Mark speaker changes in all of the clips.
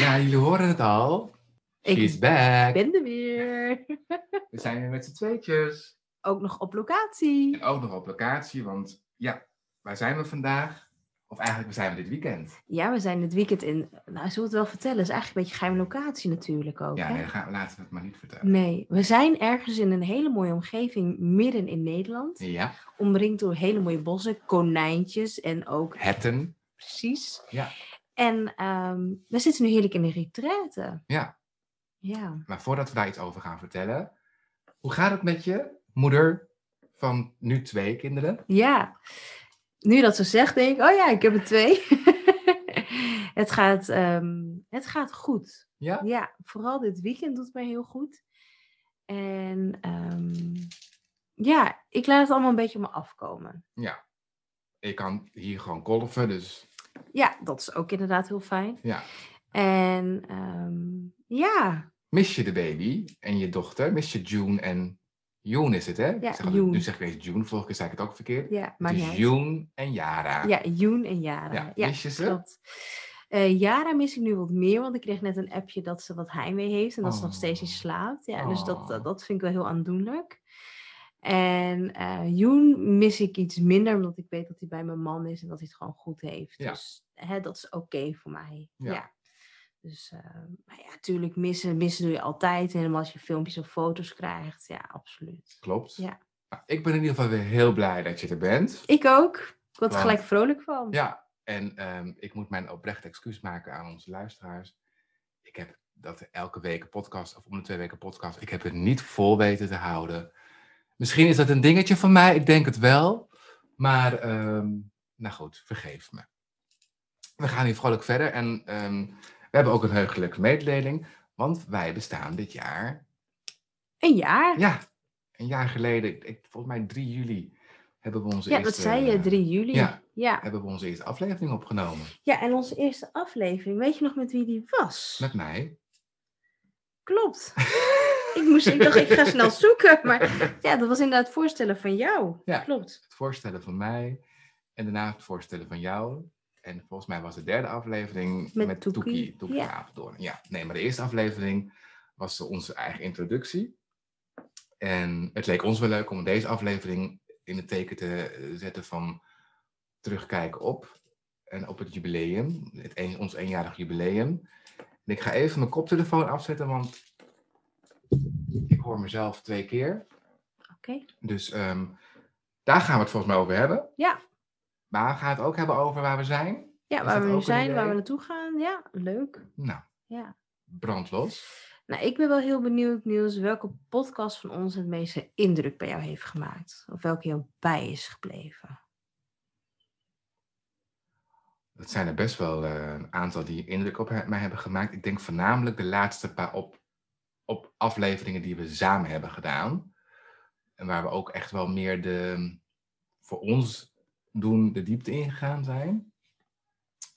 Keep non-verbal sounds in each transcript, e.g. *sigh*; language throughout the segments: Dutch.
Speaker 1: Ja, jullie horen het al. She's
Speaker 2: Ik
Speaker 1: back.
Speaker 2: ben er weer.
Speaker 1: We zijn weer met z'n tweetjes.
Speaker 2: Ook nog op locatie.
Speaker 1: En ook nog op locatie, want ja, waar zijn we vandaag? Of eigenlijk, waar zijn we dit weekend?
Speaker 2: Ja, we zijn dit weekend in. Nou, zullen we het wel vertellen? is eigenlijk een beetje geheime locatie natuurlijk ook.
Speaker 1: Ja,
Speaker 2: hè?
Speaker 1: nee, dan gaan we, laten we het maar niet vertellen.
Speaker 2: Nee, we zijn ergens in een hele mooie omgeving midden in Nederland.
Speaker 1: Ja,
Speaker 2: Omringd door hele mooie bossen, konijntjes en ook
Speaker 1: hetten.
Speaker 2: precies.
Speaker 1: Ja.
Speaker 2: En ehm, we zitten nu heerlijk in een retraite.
Speaker 1: Ja.
Speaker 2: Ja.
Speaker 1: Maar voordat we daar iets over gaan vertellen, hoe gaat het met je moeder van nu twee kinderen?
Speaker 2: Ja, nu dat ze zegt, denk ik, oh ja, ik heb er twee. *laughs* het, gaat, ehm, het gaat goed.
Speaker 1: Ja?
Speaker 2: Ja, vooral dit weekend doet mij heel goed. En ehm, ja, ik laat het allemaal een beetje op me afkomen.
Speaker 1: Ik kan hier gewoon golven, dus
Speaker 2: Ja, dat is ook inderdaad heel fijn.
Speaker 1: ja.
Speaker 2: En ehm, ja,
Speaker 1: Mis je de baby en je dochter? Mis je June en... June is het, hè? Ik zeg altijd-
Speaker 2: June.
Speaker 1: Nu zeg ik eens June, vorige keer zei ik het ook verkeerd.
Speaker 2: ja, maar
Speaker 1: Het
Speaker 2: niet uit.
Speaker 1: is June en Yara.
Speaker 2: Ja, Joen en Jara.
Speaker 1: Ja, mis je ze?
Speaker 2: klopt. Eh, Jara mis ik nu wat meer, want ik kreeg net een appje dat ze wat heimwee heeft en dat ze nog steeds niet
Speaker 1: Oh.
Speaker 2: slaapt. Ja, dus dat, dat,
Speaker 1: Oh.
Speaker 2: dat vind ik wel heel aandoenlijk. En eh Joen mis ik iets minder, omdat ik weet dat hij bij mijn man is en dat hij het gewoon goed heeft.
Speaker 1: Ja.
Speaker 2: Dus hè, dat is oké voor mij. Ja.
Speaker 1: Ja.
Speaker 2: Dus, eh, maar ja, natuurlijk missen, missen doe je altijd. En helemaal als je filmpjes of foto's krijgt. Ja, absoluut.
Speaker 1: Klopt.
Speaker 2: Ja.
Speaker 1: Nou, ik ben in ieder geval weer heel blij dat je er bent.
Speaker 2: Ik ook. Ik word er
Speaker 1: Want-
Speaker 2: gelijk vrolijk van.
Speaker 1: Ja, en ehm, ik moet mijn oprecht excuus maken aan onze luisteraars. Ik heb dat elke week een podcast, of om de twee weken een podcast, ik heb het niet vol weten te houden. Misschien is dat een dingetje van mij, ik denk het wel. Maar, ehm, nou goed, vergeef me. We gaan hier vrolijk verder en ehm, we hebben ook een heugelijke mededeling, want wij bestaan dit jaar
Speaker 2: Een jaar.
Speaker 1: Ja, een jaar geleden, ik- ik, volgens mij 3 juli, hebben we onze,
Speaker 2: Ja,
Speaker 1: eerste, eh,
Speaker 2: dat zei je, 3 juli.
Speaker 1: ja.
Speaker 2: ja.
Speaker 1: hebben we onze eerste aflevering opgenomen.
Speaker 2: Ja, en onze eerste aflevering, weet je nog met wie die was?
Speaker 1: Met mij. *laughs*
Speaker 2: Klopt. Ik, moest, ik dacht, ik ga snel zoeken. Maar ja, dat was inderdaad het voorstellen van jou.
Speaker 1: Ja.
Speaker 2: Klopt.
Speaker 1: Het voorstellen van mij en daarna het voorstellen van jou. En volgens mij was de derde aflevering
Speaker 2: Met
Speaker 1: met,
Speaker 2: Toekie,
Speaker 1: Toekie, Toekie
Speaker 2: ja.
Speaker 1: Apeldoorn. Ja, nee, maar de eerste aflevering was onze eigen introductie. En het leek ons wel leuk om deze aflevering in het teken te eh, zetten van terugkijken op en op het jubileum, het een, ons eenjarig jubileum. En ik ga even mijn koptelefoon afzetten, want ik hoor mezelf twee keer.
Speaker 2: Oké.
Speaker 1: Dus ehm, daar gaan we het volgens mij over hebben.
Speaker 2: Ja.
Speaker 1: Maar we gaan het ook hebben over waar we zijn.
Speaker 2: Ja,
Speaker 1: Is
Speaker 2: waar
Speaker 1: dat
Speaker 2: we nu
Speaker 1: ook een
Speaker 2: zijn, waar
Speaker 1: idee?
Speaker 2: we naartoe gaan. Ja, leuk.
Speaker 1: Nou,
Speaker 2: Ja.
Speaker 1: brandlos.
Speaker 2: Nou, ik ben wel heel benieuwd, Niels, welke podcast van ons het meeste indruk bij jou heeft gemaakt. Of welke jou bij is gebleven.
Speaker 1: Dat zijn er best wel eh, een aantal die indruk op he- mij hebben gemaakt. Ik denk voornamelijk de laatste paar op, op afleveringen die we samen hebben gedaan. En waar we ook echt wel meer de, voor ons doen, de diepte ingegaan zijn.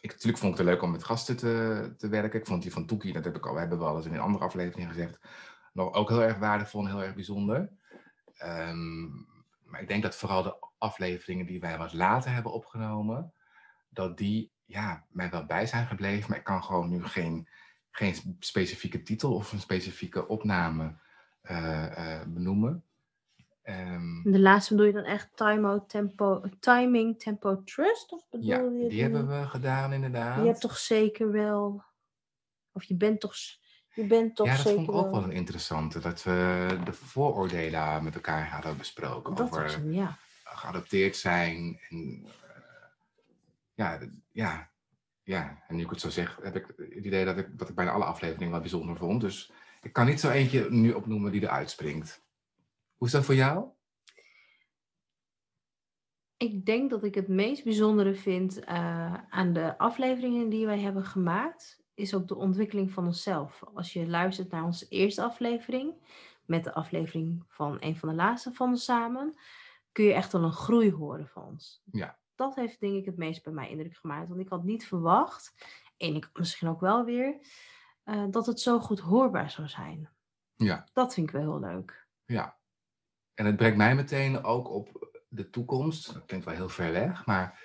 Speaker 1: Ik, natuurlijk vond ik het leuk om met gasten te, te werken. Ik vond die van Toekie, dat heb ik al, hebben we al eens in een andere aflevering gezegd, nog ook heel erg waardevol en heel erg bijzonder. Ehm, maar ik denk dat vooral de afleveringen die wij wat later hebben opgenomen, dat die ja, mij wel bij zijn gebleven. Maar ik kan gewoon nu geen, geen specifieke titel of een specifieke opname eh, eh, benoemen. Ehm,
Speaker 2: En De laatste bedoel je dan echt time out, tempo, Timing Tempo Trust? Of bedoel
Speaker 1: Ja,
Speaker 2: je
Speaker 1: die hebben we gedaan inderdaad.
Speaker 2: Je hebt toch zeker wel... Of je bent toch, s- je bent toch
Speaker 1: ja, dat
Speaker 2: zeker
Speaker 1: vond ik ook wel een interessante. Dat we de vooroordelen met elkaar hadden besproken.
Speaker 2: Dat
Speaker 1: over
Speaker 2: was hem, ja.
Speaker 1: geadopteerd zijn. En, eh, ja, d- ja, ja, en nu ik het zo zeg, heb ik het idee dat ik, dat ik bijna alle afleveringen wel bijzonder vond. Dus ik kan niet zo eentje nu opnoemen die eruit springt. Hoe is dat voor jou?
Speaker 2: Ik denk dat ik het meest bijzondere vind eh, aan de afleveringen die wij hebben gemaakt, is ook de ontwikkeling van onszelf. Als je luistert naar onze eerste aflevering, met de aflevering van een van de laatste van ons samen, kun je echt al een groei horen van ons.
Speaker 1: Ja.
Speaker 2: Dat heeft denk ik het meest bij mij indruk gemaakt. Want ik had niet verwacht, en ik misschien ook wel weer, eh, dat het zo goed hoorbaar zou zijn.
Speaker 1: Ja.
Speaker 2: Dat vind ik wel heel leuk.
Speaker 1: Ja. En het brengt mij meteen ook op de toekomst. Dat klinkt wel heel ver weg, maar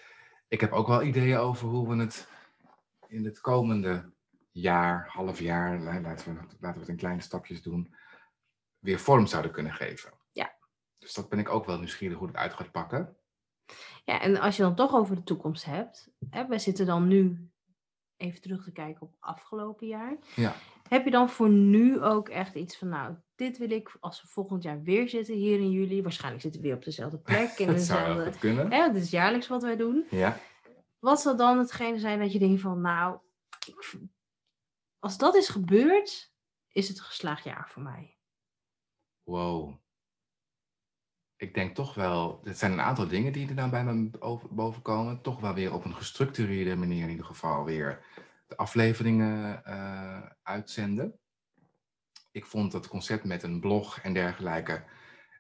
Speaker 1: ik heb ook wel ideeën over hoe we het in het komende jaar, half jaar, la- laten we, laten we het in kleine stapjes doen, weer vorm zouden kunnen geven.
Speaker 2: Ja.
Speaker 1: Dus dat ben ik ook wel nieuwsgierig hoe het uit gaat pakken.
Speaker 2: Ja, en als je dan toch over de toekomst hebt, hè, we zitten dan nu even terug te kijken op afgelopen jaar.
Speaker 1: Ja.
Speaker 2: Heb je dan voor nu ook echt iets van, nou, dit wil ik als we volgend jaar weer zitten hier in juli. Waarschijnlijk zitten we weer op dezelfde
Speaker 1: *laughs*
Speaker 2: plek. En
Speaker 1: Dat zou wel
Speaker 2: dezelfde,
Speaker 1: goed kunnen.
Speaker 2: hè, het is jaarlijks wat wij doen.
Speaker 1: Ja.
Speaker 2: Wat zal dan hetgene zijn dat je denkt van, nou, ik v- als dat is gebeurd, is het een geslaagd jaar voor mij.
Speaker 1: Wow. Ik denk toch wel, dit zijn een aantal dingen die er dan bij me over- boven komen. Toch wel weer op een gestructureerde manier in ieder geval weer de afleveringen eh, uitzenden. Ik vond dat concept met een blog en dergelijke,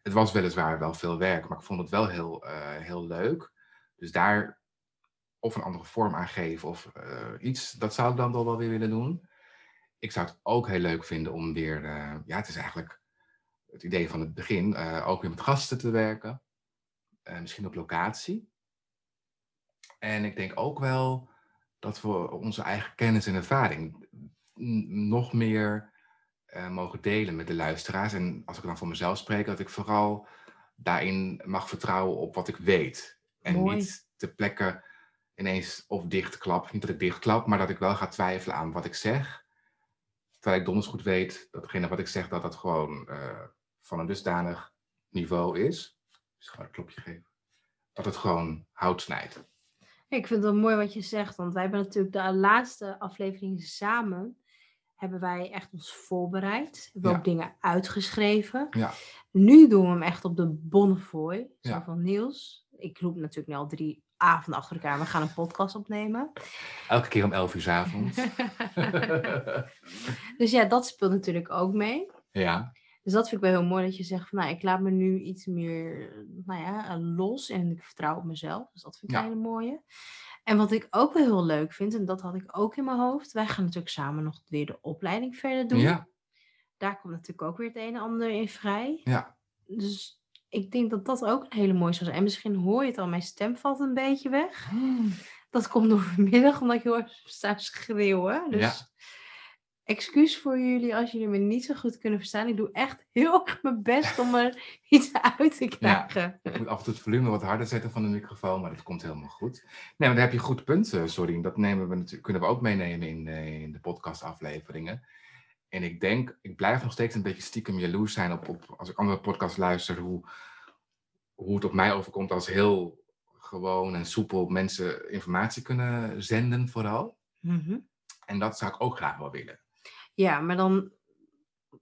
Speaker 1: het was weliswaar wel veel werk, maar ik vond het wel heel, eh, heel leuk. Dus daar of een andere vorm aan geven of eh, iets, dat zou ik dan toch wel weer willen doen. Ik zou het ook heel leuk vinden om weer, eh, ja, het is eigenlijk het idee van het begin, eh, ook weer met gasten te werken. Eh, misschien op locatie. En ik denk ook wel dat we onze eigen kennis en ervaring n- nog meer eh, mogen delen met de luisteraars. En als ik dan voor mezelf spreek, dat ik vooral daarin mag vertrouwen op wat ik weet. En
Speaker 2: Mooi.
Speaker 1: niet de plekken ineens of dichtklap. Niet dat ik dichtklap, maar dat ik wel ga twijfelen aan wat ik zeg. Terwijl ik donders goed weet dat datgene wat ik zeg, dat dat gewoon eh, van een dusdanig niveau is. Dus gewoon een klopje geven. Dat het gewoon hout snijdt.
Speaker 2: Ik vind het wel mooi wat je zegt, want wij hebben natuurlijk de laatste aflevering samen. Hebben wij echt ons voorbereid? Hebben we
Speaker 1: Ja.
Speaker 2: ook dingen uitgeschreven?
Speaker 1: Ja.
Speaker 2: Nu doen we hem echt op de bonnefooi. Zo
Speaker 1: Ja.
Speaker 2: van Niels. Ik roep natuurlijk nu al drie avonden achter elkaar. We gaan een podcast
Speaker 1: *laughs*
Speaker 2: opnemen.
Speaker 1: Elke keer om 11 uur 's
Speaker 2: *laughs*
Speaker 1: avonds. *laughs*
Speaker 2: dus ja, dat speelt natuurlijk ook mee.
Speaker 1: ja,
Speaker 2: Dus dat vind ik wel heel mooi dat je zegt van nou, ik laat me nu iets meer eh, nou ja, eh, los en ik vertrouw op mezelf. Dus dat vind ik
Speaker 1: Ja.
Speaker 2: een hele mooie. En wat ik ook wel heel leuk vind, en dat had ik ook in mijn hoofd, wij gaan natuurlijk samen nog weer de opleiding verder doen.
Speaker 1: ja,
Speaker 2: Daar komt natuurlijk ook weer het een en ander in vrij.
Speaker 1: ja,
Speaker 2: Dus ik denk dat dat ook een hele mooie zou zijn. En misschien hoor je het al, mijn stem valt een beetje weg. Dat komt door vanmiddag, omdat ik heel erg sta schreeuwen. Dus excuus voor jullie als jullie me niet zo goed kunnen verstaan. Ik doe echt heel erg mijn best om er *laughs* iets uit te krijgen.
Speaker 1: Ik moet af en toe het volume wat harder zetten van de microfoon, maar dat komt helemaal goed. Nee, maar daar heb je een goed punt, eh, Sorien. Dat nemen we natuurlijk, kunnen we ook meenemen in, eh, in de podcastafleveringen. En ik denk, ik blijf nog steeds een beetje stiekem jaloers zijn op, op als ik andere podcasts luister, hoe, hoe het op mij overkomt als heel gewoon en soepel mensen informatie kunnen zenden vooral.
Speaker 2: Mhm.
Speaker 1: En dat zou ik ook graag wel willen.
Speaker 2: Ja, maar dan.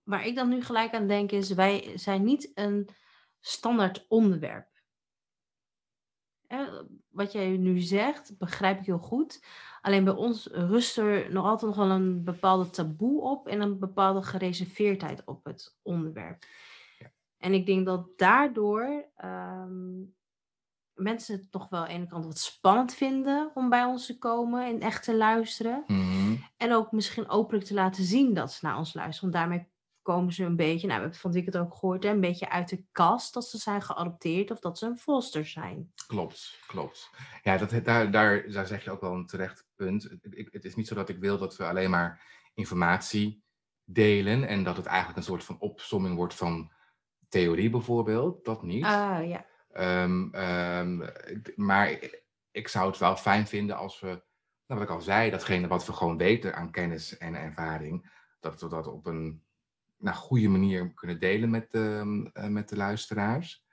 Speaker 2: Waar ik dan nu gelijk aan denk is: wij zijn niet een standaard onderwerp. Hè, wat jij nu zegt, begrijp ik heel goed. Alleen bij ons rust er nog altijd nog wel een bepaalde taboe op en een bepaalde gereserveerdheid op het onderwerp. En ik denk dat daardoor ehm, mensen het toch wel aan de ene kant wat spannend vinden om bij ons te komen en echt te luisteren.
Speaker 1: Mhm.
Speaker 2: En ook misschien openlijk te laten zien dat ze naar ons luisteren. Want daarmee komen ze een beetje, nou, we hebben het van het weekend ook gehoord, hè, een beetje uit de kast dat ze zijn geadopteerd of dat ze een foster zijn.
Speaker 1: Klopt, klopt. Ja, dat, daar, daar, daar zeg je ook wel een terecht punt. Het- Ik, het is niet zo dat ik wil dat we alleen maar informatie delen en dat het eigenlijk een soort van opsomming wordt van theorie bijvoorbeeld. Dat niet.
Speaker 2: Ah ja.
Speaker 1: Ehm, ehm, ik- maar ik, ik zou het wel fijn vinden als we, nou, wat ik al zei, datgene wat we gewoon weten aan kennis en ervaring, dat we dat op een nou, goede manier kunnen delen met de, eh, met de luisteraars.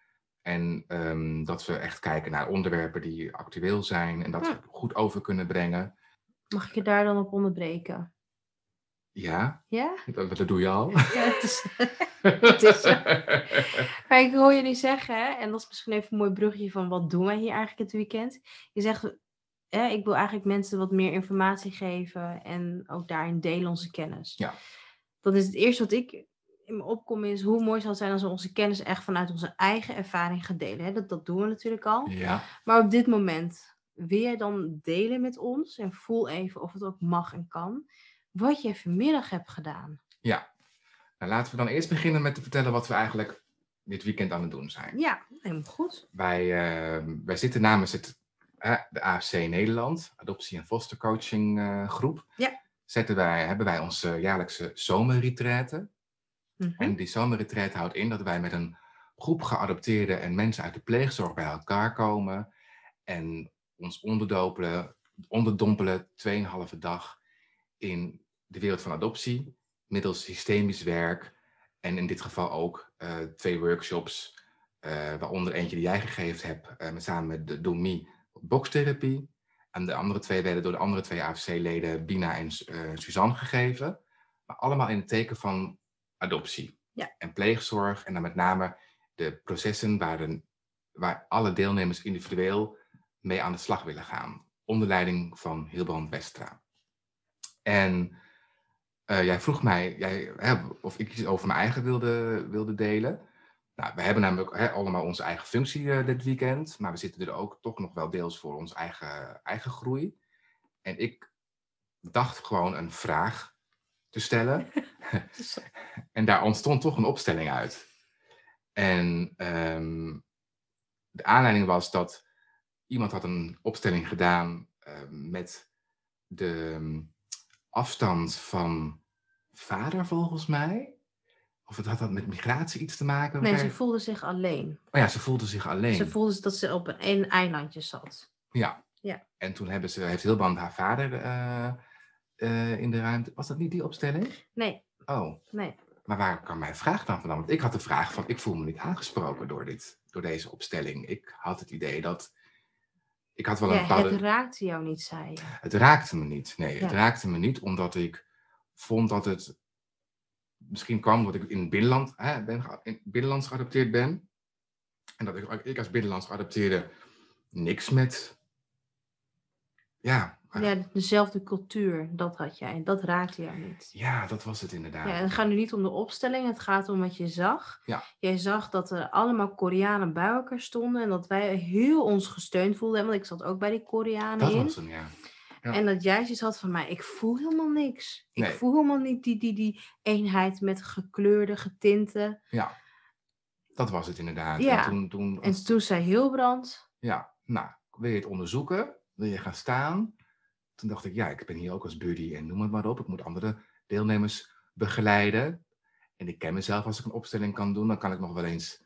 Speaker 1: En ehm, dat we echt kijken naar onderwerpen die actueel zijn en dat we goed over kunnen brengen.
Speaker 2: Mag ik je daar dan op onderbreken?
Speaker 1: Ja,
Speaker 2: Ja?
Speaker 1: dat, dat doe je al.
Speaker 2: ja het is- *laughs* Het is- maar ik hoor jullie zeggen, hè, en dat is misschien even een mooi brugje van wat doen wij hier eigenlijk het weekend. Je zegt, hè, ik wil eigenlijk mensen wat meer informatie geven en ook daarin delen onze kennis.
Speaker 1: Ja.
Speaker 2: Dat is het eerste wat ik in me opkom is hoe mooi zal het zijn als we onze kennis echt vanuit onze eigen ervaring gaan delen. Hè? Dat, dat doen we natuurlijk al.
Speaker 1: *laughs* Ja,
Speaker 2: Maar op dit moment, wil jij dan delen met ons en voel even of het ook mag en kan, wat je vanmiddag hebt gedaan?
Speaker 1: ja. Nou, laten we dan eerst beginnen met te vertellen wat we eigenlijk dit weekend aan het doen zijn.
Speaker 2: Ja, helemaal goed.
Speaker 1: Wij, eh, wij zitten namens het, eh, de AFC Nederland, Adoptie- en Fostercoaching eh, Groep.
Speaker 2: Ja.
Speaker 1: Zetten wij, hebben wij onze jaarlijkse zomerretraite.
Speaker 2: Mhm.
Speaker 1: En die zomerretreat houdt in dat wij met een groep geadopteerden en mensen uit de pleegzorg bij elkaar komen en ons onderdopelen, onderdompelen 2,5 dag in de wereld van adoptie, middels systemisch werk en in dit geval ook eh, twee workshops, eh, waaronder eentje die jij gegeven hebt eh, met samen met de Domi Boxtherapie. En de andere twee werden door de andere twee AFC-leden, Bina en eh, Suzanne, gegeven. Maar allemaal in het teken van adoptie
Speaker 2: Ja.
Speaker 1: en pleegzorg. En dan met name de processen waar, de, waar alle deelnemers individueel mee aan de slag willen gaan. Onder leiding van Hilbrand Westra. En eh, jij vroeg mij jij, hè, of ik iets over mijn eigen wilde, wilde delen. Nou, we hebben namelijk hè, allemaal onze eigen functie eh, dit weekend. Maar we zitten er ook toch nog wel deels voor onze eigen, eigen groei. En ik dacht gewoon een vraag te stellen. En daar ontstond toch een opstelling uit. En ehm, de aanleiding was dat iemand had een opstelling gedaan ehm, met de ehm, afstand van vader volgens mij. Of het had dat met migratie iets te maken?
Speaker 2: Nee,
Speaker 1: waarbij-
Speaker 2: ze voelde zich alleen.
Speaker 1: oh ja, ze voelde zich alleen.
Speaker 2: Ze voelde dat ze op een, een eilandje zat.
Speaker 1: Ja.
Speaker 2: Ja.
Speaker 1: En toen hebben ze, heeft Hilbrand haar vader eh, eh, in de ruimte. Was dat niet die opstelling?
Speaker 2: Nee,
Speaker 1: Oh.
Speaker 2: nee.
Speaker 1: Maar waar kan mijn vraag dan vandaan? Want ik had de vraag van, ik voel me niet aangesproken door, dit, door deze opstelling. Ik had het idee dat, ik had wel een
Speaker 2: Ja,
Speaker 1: bepaalde...
Speaker 2: het raakte jou niet, zei je.
Speaker 1: Het raakte me niet. Nee, het
Speaker 2: Ja.
Speaker 1: raakte me niet omdat ik vond dat het. Misschien kwam omdat ik in het binnenland hè, ben, ge- in het binnenlands geadopteerd ben. En dat ik, ik als binnenlands geadopteerde niks met. Ja, maar-
Speaker 2: Ja, dezelfde cultuur, dat had jij. Dat raakte jou niet.
Speaker 1: ja, dat was het inderdaad.
Speaker 2: Ja, het gaat nu niet om de opstelling, het gaat om wat je zag.
Speaker 1: Ja.
Speaker 2: Jij zag dat er allemaal Koreanen bij elkaar stonden en dat wij heel ons gesteund voelden. Want ik zat ook bij die Koreanen
Speaker 1: dat
Speaker 2: in.
Speaker 1: was hem, ja. ja.
Speaker 2: En dat jij zoiets had van mij, ik voel helemaal niks.
Speaker 1: Nee.
Speaker 2: Ik voel helemaal niet die, die, die eenheid met gekleurde, getinte.
Speaker 1: ja. Dat was het inderdaad.
Speaker 2: Ja.
Speaker 1: En toen, toen,
Speaker 2: En toen zei Hilbrand,
Speaker 1: Ja, nou, wil je het onderzoeken? Wil je gaan staan? Toen dacht ik, ja, ik ben hier ook als buddy en noem het maar op. Ik moet andere deelnemers begeleiden. En ik ken mezelf, als ik een opstelling kan doen, dan kan ik nog wel eens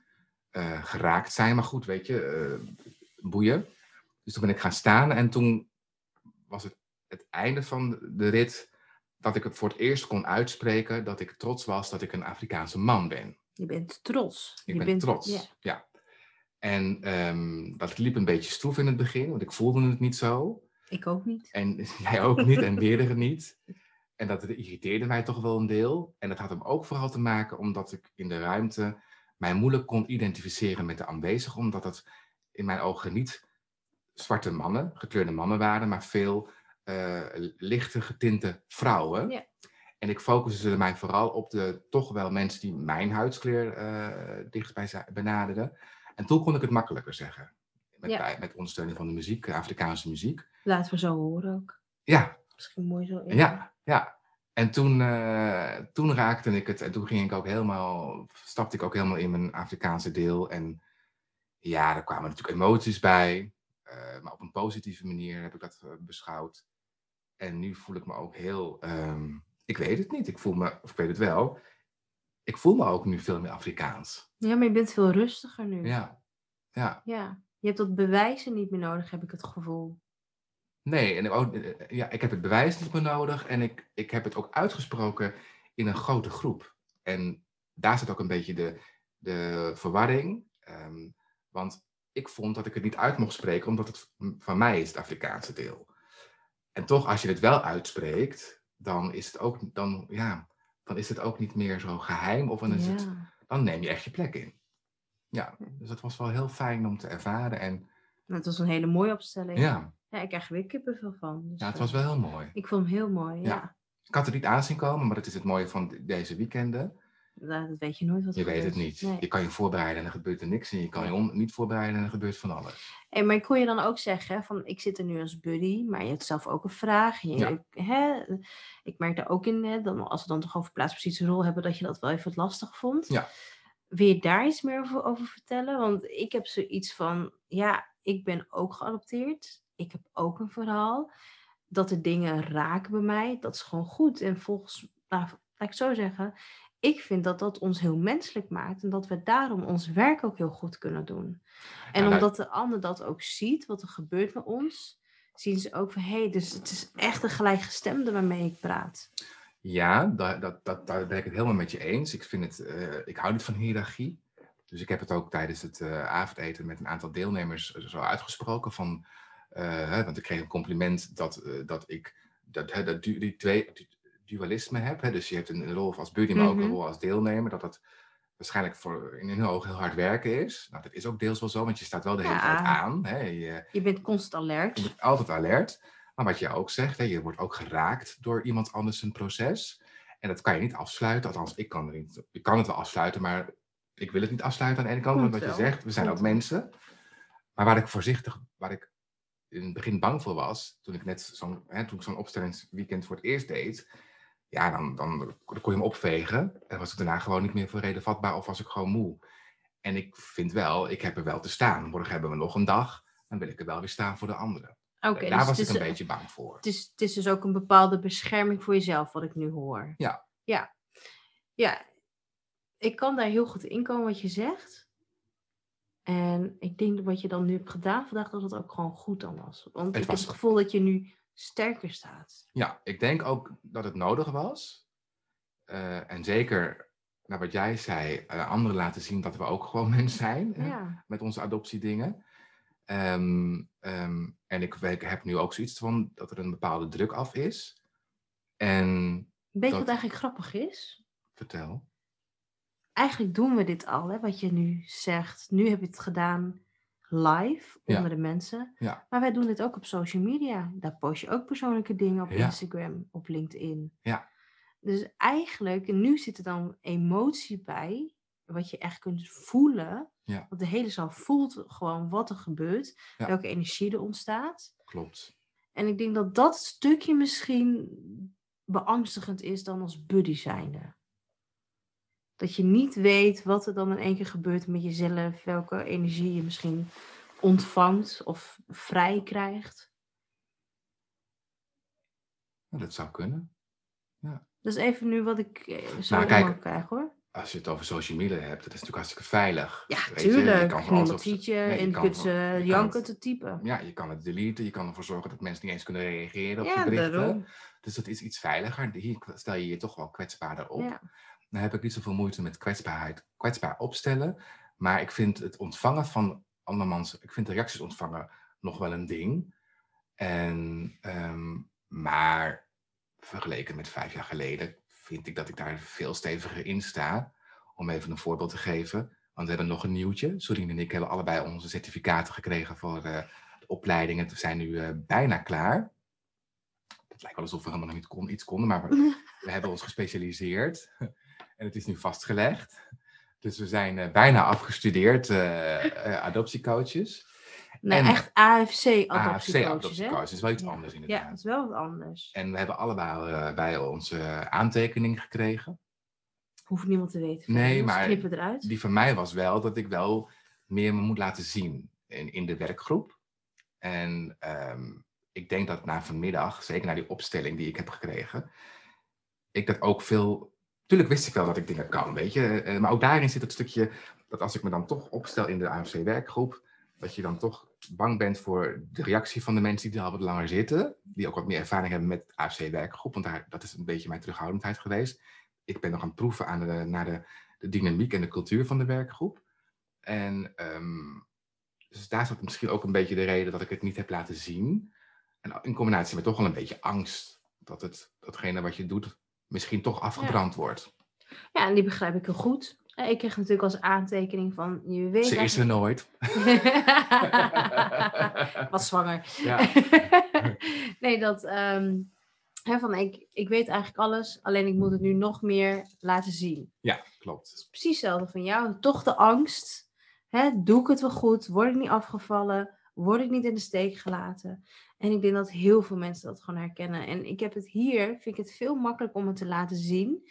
Speaker 1: eh, geraakt zijn. Maar goed, weet je, eh, boeien. Dus toen ben ik gaan staan en toen was het het einde van de rit dat ik het voor het eerst kon uitspreken dat ik trots was dat ik een Afrikaanse man ben.
Speaker 2: je bent trots.
Speaker 1: Ik
Speaker 2: je
Speaker 1: ben
Speaker 2: bent,
Speaker 1: trots.
Speaker 2: Ja.
Speaker 1: Ja. En ehm, dat liep een beetje stroef in het begin, want ik voelde het niet zo.
Speaker 2: Ik ook niet.
Speaker 1: En *laughs* jij ook niet en meerdere niet. En dat irriteerde mij toch wel een deel. En dat had hem ook vooral te maken omdat ik in de ruimte mij moeilijk kon identificeren met de aanwezigen. Omdat het in mijn ogen niet zwarte mannen, gekleurde mannen waren, maar veel eh, lichte getinte vrouwen.
Speaker 2: Ja.
Speaker 1: En ik focuste mij vooral op de toch wel mensen die mijn huidskleur eh dichtbij za- benaderden. En toen kon ik het makkelijker zeggen. Met,
Speaker 2: Ja.
Speaker 1: bij- met ondersteuning van de muziek, Afrikaanse muziek.
Speaker 2: Laten we zo horen ook.
Speaker 1: Ja,
Speaker 2: Misschien mooi zo. in.
Speaker 1: ja, ja. En toen, eh, toen raakte ik het en toen ging ik ook helemaal, stapte ik ook helemaal in mijn Afrikaanse deel. En ja, er kwamen natuurlijk emoties bij, eh, maar op een positieve manier heb ik dat eh, beschouwd. En nu voel ik me ook heel, ehm, ik weet het niet, ik voel me, of ik weet het wel, ik voel me ook nu veel meer Afrikaans.
Speaker 2: ja, maar je bent veel rustiger nu.
Speaker 1: Ja, ja.
Speaker 2: Ja. Je hebt dat bewijzen niet meer nodig, heb ik het gevoel.
Speaker 1: Nee, en ook, eh, ja, ik heb het bewijs niet meer nodig en ik, ik heb het ook uitgesproken in een grote groep. En daar zit ook een beetje de, de verwarring, ehm, want ik vond dat ik het niet uit mocht spreken, omdat het v- van mij is het Afrikaanse deel. En toch, als je het wel uitspreekt, dan is het ook, dan, ja, dan is het ook niet meer zo geheim of dan, is
Speaker 2: ja. Nou,
Speaker 1: het, dan neem je echt je plek in. Ja, dus dat was wel heel fijn om te ervaren en
Speaker 2: Nou, het was een hele mooie opstelling.
Speaker 1: Ja.
Speaker 2: Ja, ik krijg er weer kippenvel van. Dus,
Speaker 1: ja, het
Speaker 2: eh,
Speaker 1: was wel heel mooi.
Speaker 2: Ik vond hem heel mooi, ja.
Speaker 1: Ja. Ik had er niet aan zien komen, maar dat is het mooie van de- deze weekenden.
Speaker 2: Nou, dat weet je nooit wat
Speaker 1: Je
Speaker 2: er
Speaker 1: weet het
Speaker 2: gebeurt.
Speaker 1: niet.
Speaker 2: Nee.
Speaker 1: Je kan je voorbereiden en er gebeurt er niks. En je kan je on- niet voorbereiden en er gebeurt van alles.
Speaker 2: Hey, maar kon je dan ook zeggen hè, van ik zit er nu als buddy, maar je hebt zelf ook een vraag. en Je,
Speaker 1: Ja.
Speaker 2: hè, ik merkte ook in, hè, dan, als we dan toch over plaatspositierol hebben, dat je dat wel even wat lastig vond.
Speaker 1: Ja.
Speaker 2: Wil je daar iets meer over, over vertellen? Want ik heb zoiets van, ja, ik ben ook geadopteerd. Ik heb ook een verhaal. Dat de dingen raken bij mij, dat is gewoon goed. En volgens, nou, laat ik het zo zeggen, ik vind dat dat ons heel menselijk maakt. En dat we daarom ons werk ook heel goed kunnen doen. En
Speaker 1: Nou,
Speaker 2: omdat de ander dat ook ziet, wat er gebeurt met ons, zien ze ook van hé, hey, dus het is echt een gelijkgestemde waarmee ik praat.
Speaker 1: Ja, dat, dat, dat, daar ben ik het helemaal met je eens. Ik, vind het, eh, ik hou niet van hiërarchie. Dus ik heb het ook tijdens het eh, avondeten met een aantal deelnemers eh, zo uitgesproken. Van, eh, hè, want ik kreeg een compliment dat, eh, dat ik dat, hè, dat du- die twee du- dualisme heb. Hè, dus je hebt een rol als buddy, maar ook
Speaker 2: Mhm.
Speaker 1: een rol als deelnemer. Dat dat waarschijnlijk voor, in hun ogen heel hard werken is. Nou, dat is ook deels wel zo, want je staat wel de hele
Speaker 2: Ja.
Speaker 1: tijd aan. Hè, je,
Speaker 2: Je bent constant alert.
Speaker 1: je bent altijd alert. Maar wat je ook zegt, hè, je wordt ook geraakt door iemand anders zijn proces. En dat kan je niet afsluiten. Althans, ik kan, er niet, ik kan het wel afsluiten, maar ik wil het niet afsluiten aan de ene kant.
Speaker 2: Komt
Speaker 1: Want wat je
Speaker 2: wel.
Speaker 1: zegt, we zijn
Speaker 2: Komt
Speaker 1: ook mensen. Maar waar ik voorzichtig, waar ik in het begin bang voor was, toen ik net zo'n, hè, toen ik zo'n opstellingsweekend voor het eerst deed, ja, dan, dan, kon je hem opvegen. En was ik daarna gewoon niet meer voor reden vatbaar of was ik gewoon moe. En ik vind wel, ik heb er wel te staan. Morgen hebben we nog een dag, dan wil ik er wel weer staan voor de anderen.
Speaker 2: Oké,
Speaker 1: Daar
Speaker 2: dus
Speaker 1: was
Speaker 2: het
Speaker 1: ik
Speaker 2: is,
Speaker 1: een beetje bang voor.
Speaker 2: het, is, het is dus ook een bepaalde bescherming voor jezelf, wat ik nu hoor.
Speaker 1: Ja.
Speaker 2: Ja. Ja. Ik kan daar heel goed in komen wat je zegt. En ik denk dat wat je dan nu hebt gedaan vandaag, dat het ook gewoon goed dan was. Want ik
Speaker 1: was-
Speaker 2: heb het gevoel dat je nu sterker staat.
Speaker 1: Ja, ik denk ook dat het nodig was. Eh, en zeker, naar wat jij zei, eh, anderen laten zien dat we ook gewoon *laughs* mens zijn hè,
Speaker 2: Ja.
Speaker 1: met onze adoptiedingen. Ehm, ehm, en ik, weet- ik heb nu ook zoiets van dat er een bepaalde druk af is. En
Speaker 2: Weet je
Speaker 1: Dat-
Speaker 2: wat eigenlijk grappig is?
Speaker 1: vertel.
Speaker 2: eigenlijk doen we dit al, hè, wat je nu zegt. Nu heb je het gedaan live
Speaker 1: Ja.
Speaker 2: onder de mensen.
Speaker 1: Ja.
Speaker 2: Maar wij doen dit ook op social media. Daar post je ook persoonlijke dingen op
Speaker 1: Ja.
Speaker 2: Instagram, op LinkedIn.
Speaker 1: Ja.
Speaker 2: Dus eigenlijk, en nu zit er dan emotie bij, wat je echt kunt voelen.
Speaker 1: Ja.
Speaker 2: Want de hele zaal voelt gewoon wat er gebeurt,
Speaker 1: Ja.
Speaker 2: welke energie er ontstaat.
Speaker 1: Klopt.
Speaker 2: En ik denk dat dat stukje misschien beangstigend is dan als buddy zijnde. Dat je niet weet wat er dan in één keer gebeurt met jezelf, welke energie je misschien ontvangt of vrij krijgt.
Speaker 1: Nou, dat zou kunnen.
Speaker 2: Dat is even nu wat ik eh, zo
Speaker 1: Nou,
Speaker 2: nou,
Speaker 1: kijk.
Speaker 2: krijg hoor.
Speaker 1: Als je het over social media hebt, dat is natuurlijk hartstikke veilig.
Speaker 2: Ja,
Speaker 1: Weet je, je
Speaker 2: tuurlijk.
Speaker 1: kan van alles
Speaker 2: Niemand
Speaker 1: op-
Speaker 2: ziet je
Speaker 1: Nee, je
Speaker 2: en je
Speaker 1: kan
Speaker 2: kunt
Speaker 1: van-
Speaker 2: ze
Speaker 1: je kan
Speaker 2: eh, janken
Speaker 1: het-
Speaker 2: te typen.
Speaker 1: Ja, je kan het deleten, je kan ervoor zorgen dat mensen niet eens kunnen reageren op je
Speaker 2: Ja,
Speaker 1: berichten.
Speaker 2: daarom.
Speaker 1: Dus dat is iets veiliger. Hier stel je je toch wel kwetsbaarder op.
Speaker 2: Ja.
Speaker 1: Dan heb ik niet zoveel moeite met kwetsbaarheid, kwetsbaar opstellen. Maar ik vind het ontvangen van andermans, ik vind de reacties ontvangen nog wel een ding. En, ehm, maar vergeleken met vijf jaar geleden vind ik dat ik daar veel steviger in sta. Om even een voorbeeld te geven. Want we hebben nog een nieuwtje. Sorine en ik hebben allebei onze certificaten gekregen voor eh, de opleidingen. We zijn nu eh, bijna klaar. Het lijkt wel alsof we helemaal nog niet kon, iets konden, maar
Speaker 2: *laughs*
Speaker 1: we, we hebben ons gespecialiseerd. *laughs* En het is nu vastgelegd. Dus we zijn eh, bijna afgestudeerd eh, eh, adoptiecoaches. Ah,
Speaker 2: Nou,
Speaker 1: En-
Speaker 2: echt AFC-adoptiecoaches. hè?
Speaker 1: AFC-adoptiecoaches. is wel iets
Speaker 2: Ja.
Speaker 1: anders
Speaker 2: Ja,
Speaker 1: inderdaad.
Speaker 2: dat is wel wat anders.
Speaker 1: En we hebben allebei eh, bij onze aantekening gekregen.
Speaker 2: Hoeft niemand te weten.
Speaker 1: Nee,
Speaker 2: verder, dus
Speaker 1: maar
Speaker 2: knippen eruit.
Speaker 1: die van mij was wel dat ik wel meer me moet laten zien in, in de werkgroep. En ehm, ik denk dat na vanmiddag, zeker na die opstelling die ik heb gekregen, ik dat ook veel. Tuurlijk wist ik wel dat ik dingen kan, weet je. Eh, Maar ook daarin zit het stukje dat als ik me dan toch opstel in de AFC-werkgroep, dat je dan toch bang bent voor de reactie van de mensen die er al wat langer zitten, die ook wat meer ervaring hebben met AFC-werkgroep, want daar, dat is een beetje mijn terughoudendheid geweest. Ik ben nog aan het proeven aan de, naar de de dynamiek en de cultuur van de werkgroep. En ehm, dus daar zat misschien ook een beetje de reden dat ik het niet heb laten zien. En in combinatie met toch wel een beetje angst dat het, datgene wat je doet misschien toch afgebrand wordt.
Speaker 2: Ja, en die begrijp ik heel goed. Eh, Ik kreeg natuurlijk als aantekening van, je weet
Speaker 1: Ze is
Speaker 2: eigenlijk-
Speaker 1: er nooit.
Speaker 2: *laughs* wat zwanger.
Speaker 1: *laughs* Ja.
Speaker 2: *laughs* nee, dat. ehm, hè, van ik, ik weet eigenlijk alles, alleen ik moet het nu nog meer laten zien.
Speaker 1: ja, klopt.
Speaker 2: Het is precies hetzelfde van jou. Toch de angst. Hè, doe ik het wel goed? Word ik niet afgevallen? Word ik niet in de steek gelaten? En ik denk dat heel veel mensen dat gewoon herkennen. En ik heb het hier, vind ik het veel makkelijker om het te laten zien,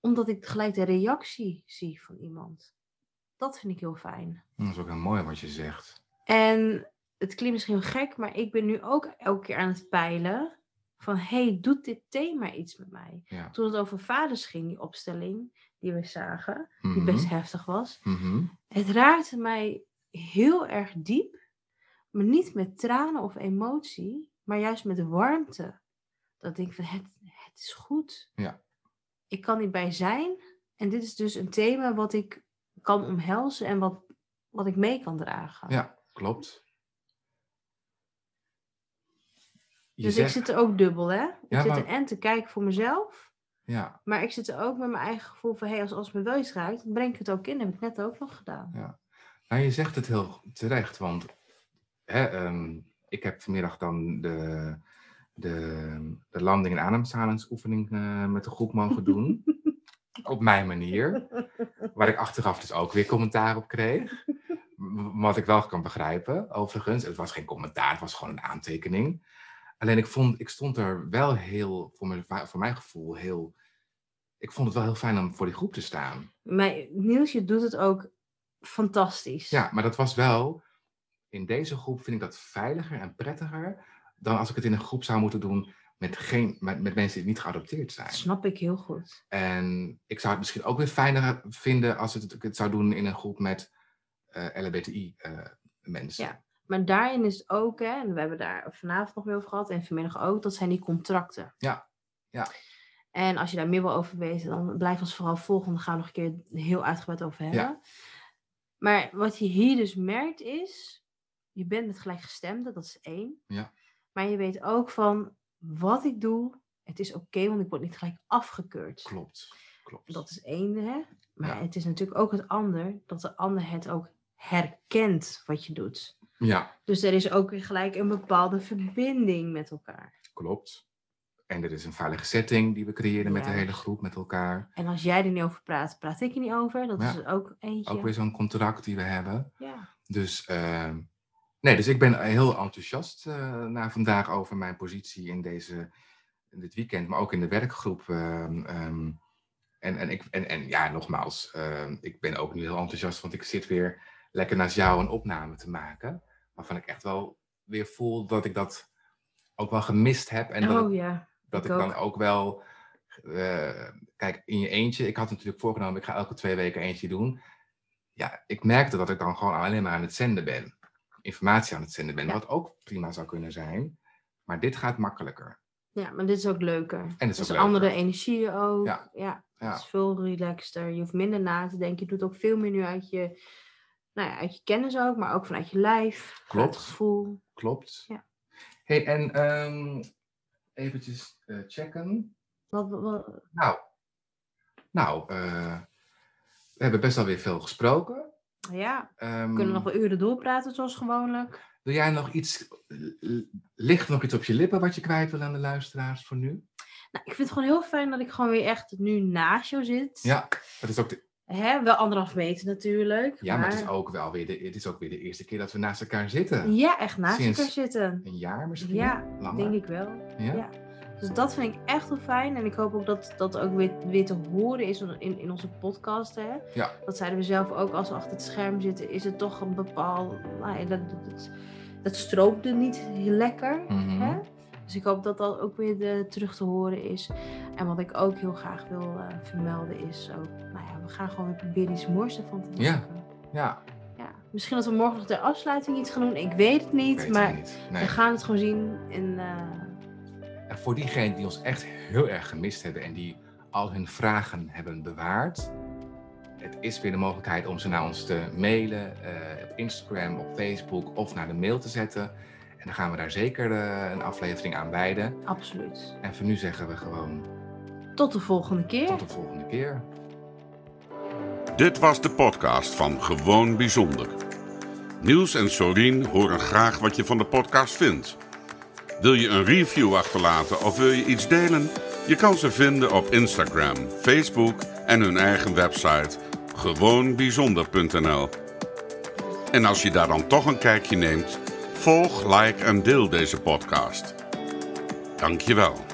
Speaker 2: omdat ik gelijk de reactie zie van iemand. Dat vind ik heel fijn.
Speaker 1: Dat is ook heel mooi wat je zegt.
Speaker 2: En het klinkt misschien heel gek, maar ik ben nu ook elke keer aan het peilen van, hey, doet dit thema iets met mij?
Speaker 1: Ja.
Speaker 2: Toen het over vaders ging, die opstelling die we zagen, die
Speaker 1: Mhm,
Speaker 2: best heftig was,
Speaker 1: mhm.
Speaker 2: het raakte mij heel erg diep, maar niet met tranen of emotie, maar juist met warmte. Dat ik van, het, het is goed.
Speaker 1: Ja.
Speaker 2: Ik kan hierbij zijn en dit is dus een thema wat ik kan omhelzen en wat, wat ik mee kan dragen.
Speaker 1: Ja, klopt. Je
Speaker 2: dus
Speaker 1: zegt-
Speaker 2: ik zit er ook dubbel, hè? Ik
Speaker 1: Ja,
Speaker 2: zit
Speaker 1: maar-
Speaker 2: er en te kijken voor mezelf,
Speaker 1: Ja,
Speaker 2: maar ik zit er ook met mijn eigen gevoel van, hé, hey, als, als me wel iets raakt, dan breng ik het ook in. Dat heb ik net ook nog gedaan.
Speaker 1: nou je zegt het heel terecht, want hè, ehm, ik heb vanmiddag dan de, de, de landing- en ademhalingsoefening eh, met de groep mogen doen. op mijn manier, waar ik achteraf dus ook weer commentaar op kreeg. w- Wat ik wel kan begrijpen, overigens. Het was geen commentaar, het was gewoon een aantekening. Alleen ik, vond, ik stond er wel heel, voor mijn, voor mijn gevoel, heel... Ik vond het wel heel fijn om voor die groep te staan.
Speaker 2: Maar Niels, je doet het ook fantastisch.
Speaker 1: Ja, maar dat was wel. In deze groep vind ik dat veiliger en prettiger dan als ik het in een groep zou moeten doen met, geen, met, met mensen die niet geadopteerd
Speaker 2: Dat
Speaker 1: zijn.
Speaker 2: snap ik heel goed.
Speaker 1: En ik zou het misschien ook weer fijner vinden als het, ik het zou doen in een groep met eh, LBTI-mensen.
Speaker 2: Ja. Maar daarin is ook, hè, en we hebben daar vanavond nog meer over gehad en vanmiddag ook, dat zijn die contracten.
Speaker 1: Ja, ja.
Speaker 2: En als je daar meer wil over weet, dan blijf ons vooral volgen. Dan gaan we nog een keer heel uitgebreid over hebben. Maar wat je hier dus merkt is, je bent met gelijkgestemden, dat is één.
Speaker 1: Ja.
Speaker 2: Maar je weet ook van, wat ik doe, het is oké, want ik word niet gelijk afgekeurd.
Speaker 1: Klopt. klopt.
Speaker 2: Dat is één, hè? Maar
Speaker 1: Ja.
Speaker 2: het is natuurlijk ook het ander, dat de ander het ook herkent wat je doet.
Speaker 1: Ja,
Speaker 2: Dus er is ook weer gelijk een bepaalde verbinding met elkaar.
Speaker 1: klopt. En er is een veilige setting die we creëren met de
Speaker 2: Ja.
Speaker 1: hele groep, met elkaar.
Speaker 2: En als jij er niet over praat, praat ik er niet over. Dat
Speaker 1: Ja.
Speaker 2: is ook eentje.
Speaker 1: Ook weer zo'n contract die we hebben.
Speaker 2: ja.
Speaker 1: Dus, eh, nee, dus ik ben heel enthousiast eh, na vandaag over mijn positie in deze, in dit weekend, maar ook in de werkgroep. ehm, ehm, en, en, ik, en, en ja, nogmaals, ehm, ik ben ook nu heel enthousiast, want ik zit weer lekker naast jou een opname te maken. Waarvan ik echt wel weer voel dat ik dat ook wel gemist heb. En dat het
Speaker 2: oh ja.
Speaker 1: dat
Speaker 2: Ik
Speaker 1: ik, dan ook wel. eh, kijk, in je eentje. Ik had natuurlijk voorgenomen, ik ga elke twee weken eentje doen. Ja, ik merkte dat ik dan gewoon alleen maar aan het zenden ben. Informatie aan het zenden ben.
Speaker 2: Ja.
Speaker 1: Wat ook prima zou kunnen zijn. Maar dit gaat makkelijker.
Speaker 2: Ja, maar dit is ook leuker. En
Speaker 1: het is ook leuker.
Speaker 2: andere energieën ook.
Speaker 1: Ja.
Speaker 2: Ja.
Speaker 1: Ja.
Speaker 2: Het is veel relaxter. Je hoeft minder na te denken. Je doet ook veel meer nu uit je, nou ja, uit je kennis ook, maar ook vanuit je lijf. vanuit
Speaker 1: Klopt.
Speaker 2: Het gevoel.
Speaker 1: Klopt.
Speaker 2: Ja.
Speaker 1: hey, en ehm eventjes eh, checken.
Speaker 2: Wat, wat- wat-
Speaker 1: Nou, nou eh, we hebben best wel weer veel gesproken.
Speaker 2: ja,
Speaker 1: Ehm,
Speaker 2: we kunnen nog wel uren doorpraten zoals gewoonlijk.
Speaker 1: Wil jij nog iets, ligt er nog iets op je lippen wat je kwijt wil aan de luisteraars voor nu?
Speaker 2: Nou, ik vind het gewoon heel fijn dat ik gewoon weer echt nu naast jou zit.
Speaker 1: Ja, dat is ook de,
Speaker 2: Hè, wel anderhalf meter natuurlijk.
Speaker 1: ja maar het is ook wel weer de, het is ook weer de eerste keer dat we naast elkaar zitten.
Speaker 2: Ja, echt naast
Speaker 1: Sinds-
Speaker 2: elkaar zitten.
Speaker 1: Een jaar misschien?
Speaker 2: Ja,
Speaker 1: Langer?
Speaker 2: denk ik wel.
Speaker 1: Ja?
Speaker 2: ja. Dus dat vind ik echt heel fijn. En ik hoop ook dat dat ook weer, weer te horen is in, in onze podcast. Hè?
Speaker 1: Ja.
Speaker 2: Dat zeiden we zelf ook, als we achter het scherm zitten, is het toch een bepaald... Nou, ja, dat, dat, dat, dat stroopte niet heel lekker.
Speaker 1: Mhm.
Speaker 2: Hè? Dus ik hoop dat dat ook weer eh, terug te horen is. En wat ik ook heel graag wil eh, vermelden is ook... Nou ja, we gaan gewoon weer proberen iets moois ervan te maken.
Speaker 1: Ja. Ja,
Speaker 2: Ja. Misschien dat we morgen nog de afsluiting iets gaan doen. Ik weet het niet,
Speaker 1: weet ik
Speaker 2: maar
Speaker 1: niet. Nee.
Speaker 2: we gaan het gewoon zien. En eh,
Speaker 1: En voor diegenen die ons echt heel erg gemist hebben en die al hun vragen hebben bewaard, het is weer de mogelijkheid om ze naar ons te mailen eh, op Instagram, op Facebook of naar de mail te zetten. En dan gaan we daar zeker eh, een aflevering aan wijden.
Speaker 2: absoluut.
Speaker 1: En voor nu zeggen we gewoon
Speaker 2: Tot de volgende keer.
Speaker 1: tot de volgende keer.
Speaker 3: Dit was de podcast van Gewoon Bijzonder. Niels en Sorien horen graag wat je van de podcast vindt. Wil je een review achterlaten of wil je iets delen? Je kan ze vinden op Instagram, Facebook en hun eigen website gewoonbijzonder.nl. En als je daar dan toch een kijkje neemt, volg, like en deel deze podcast. Dankjewel.